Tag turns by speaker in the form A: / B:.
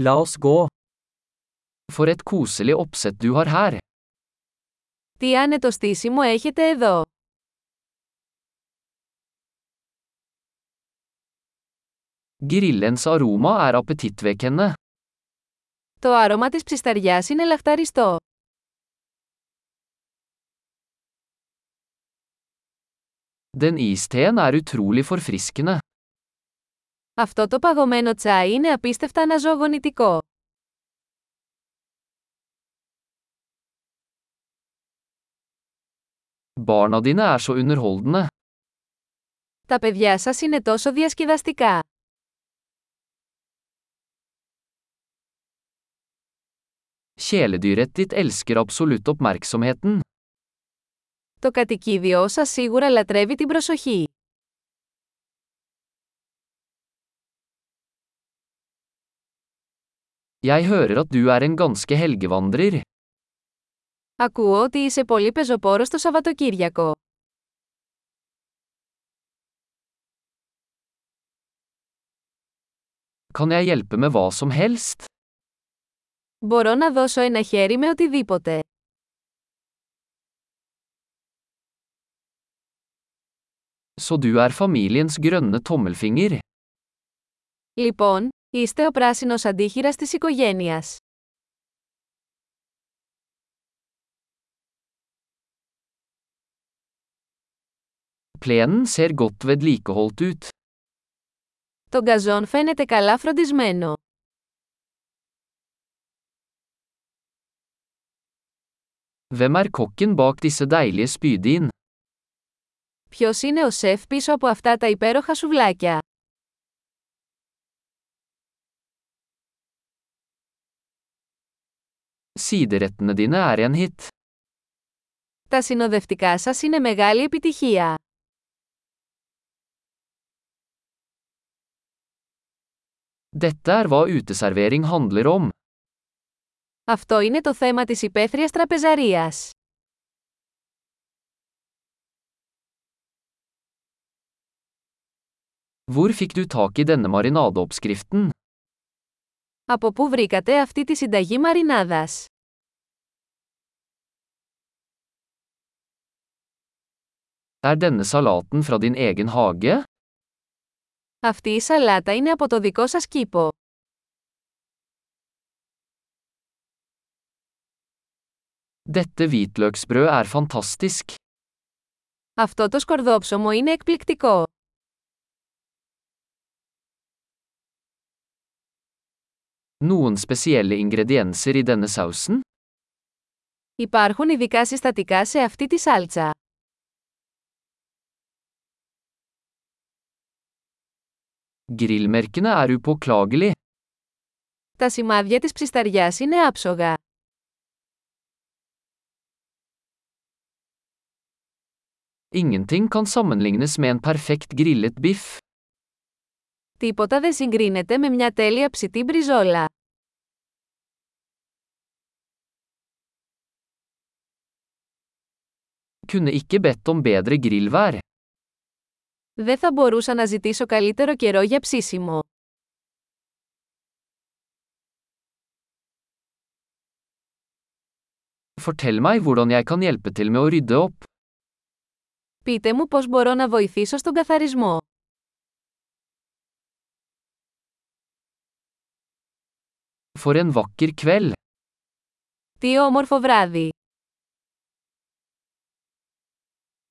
A: La oss gå. For et koselig oppsett du har her.
B: Τι άνετο στήσιμο έχετε εδώ.
A: Grillens aroma er appetittvekkende.
B: Το άρωμα της ψισταριάς είναι λαχταριστό.
A: Den isteen er utrolig forfriskende.
B: Αυτό το παγωμένο τσάι είναι απίστευτα αναζωογονητικό.
A: Barna dine er så underholdende.
B: Τα παιδιά σας είναι τόσο διασκεδαστικά.
A: Kjæledyret ditt elsker absolutt oppmerksomheten.
B: Το κατοικίδιό σας σίγουρα λατρεύει την προσοχή.
A: Jeg hører at du er en ganske helgevandrer.
B: Ακούω ότι είσαι πολύ πεζοπόρος το Σαββατοκύριακο.
A: Kan jeg hjelpe med hva som helst?
B: Μπορώ να δώσω ένα χέρι με οτιδήποτε.
A: Så du er familiens grønne tommelfinger.
B: Λοιπόν, είστε ο πράσινος αντίχειρας της οικογένειας.
A: Plenen ser godt vedlikeholdt ut.
B: Το γκαζόν φαίνεται καλά φροντισμένο.
A: Hvem er kokken bak disse deilige spydin?
B: Ποιος είναι ο σεφ πίσω από αυτά τα υπέροχα σουβλάκια.
A: Siderettene dine er en hit.
B: Τα συνοδευτικά σας είναι μεγάλη επιτυχία.
A: Dette er hva uteservering handler om.
B: Αυτό είναι το θέμα της υπαίθριας τραπεζαρίας.
A: Hvor fikk du tak i denne marinadeoppskriften?
B: Από πού βρήκατε αυτή τη συνταγή μαρινάδας.
A: Er denne salaten fra din egen hage?
B: Αυτή η σαλάτα είναι από το δικό σας κήπο.
A: Dette hvitløksbrød er fantastisk.
B: Αυτό το σκορδόψωμο είναι εκπληκτικό.
A: Noen spesielle ingredienser i denne sausen?
B: Υπάρχουν ειδικά συστατικά σε αυτή τη σάλτσα.
A: Grillmerkene er upåklagelig.
B: Τα σημάδια της ψισταριάς είναι άψογα.
A: Ingenting kan sammenlignes med en perfekt grillet biff.
B: Τίποτα δεν συγκρίνεται με μια τέλεια ψητή μπριζόλα.
A: Kunne ikke bedt om bedre grillvær.
B: Δεν θα μπορούσα να ζητήσω καλύτερο καιρό για ψήσιμο.
A: Fortell meg hvordan jeg kan hjelpe til med å rydde opp.
B: Πείτε μου πώς μπορώ να βοηθήσω στον καθαρισμό.
A: For en vakker kveld!
B: Τι όμορφο βράδυ!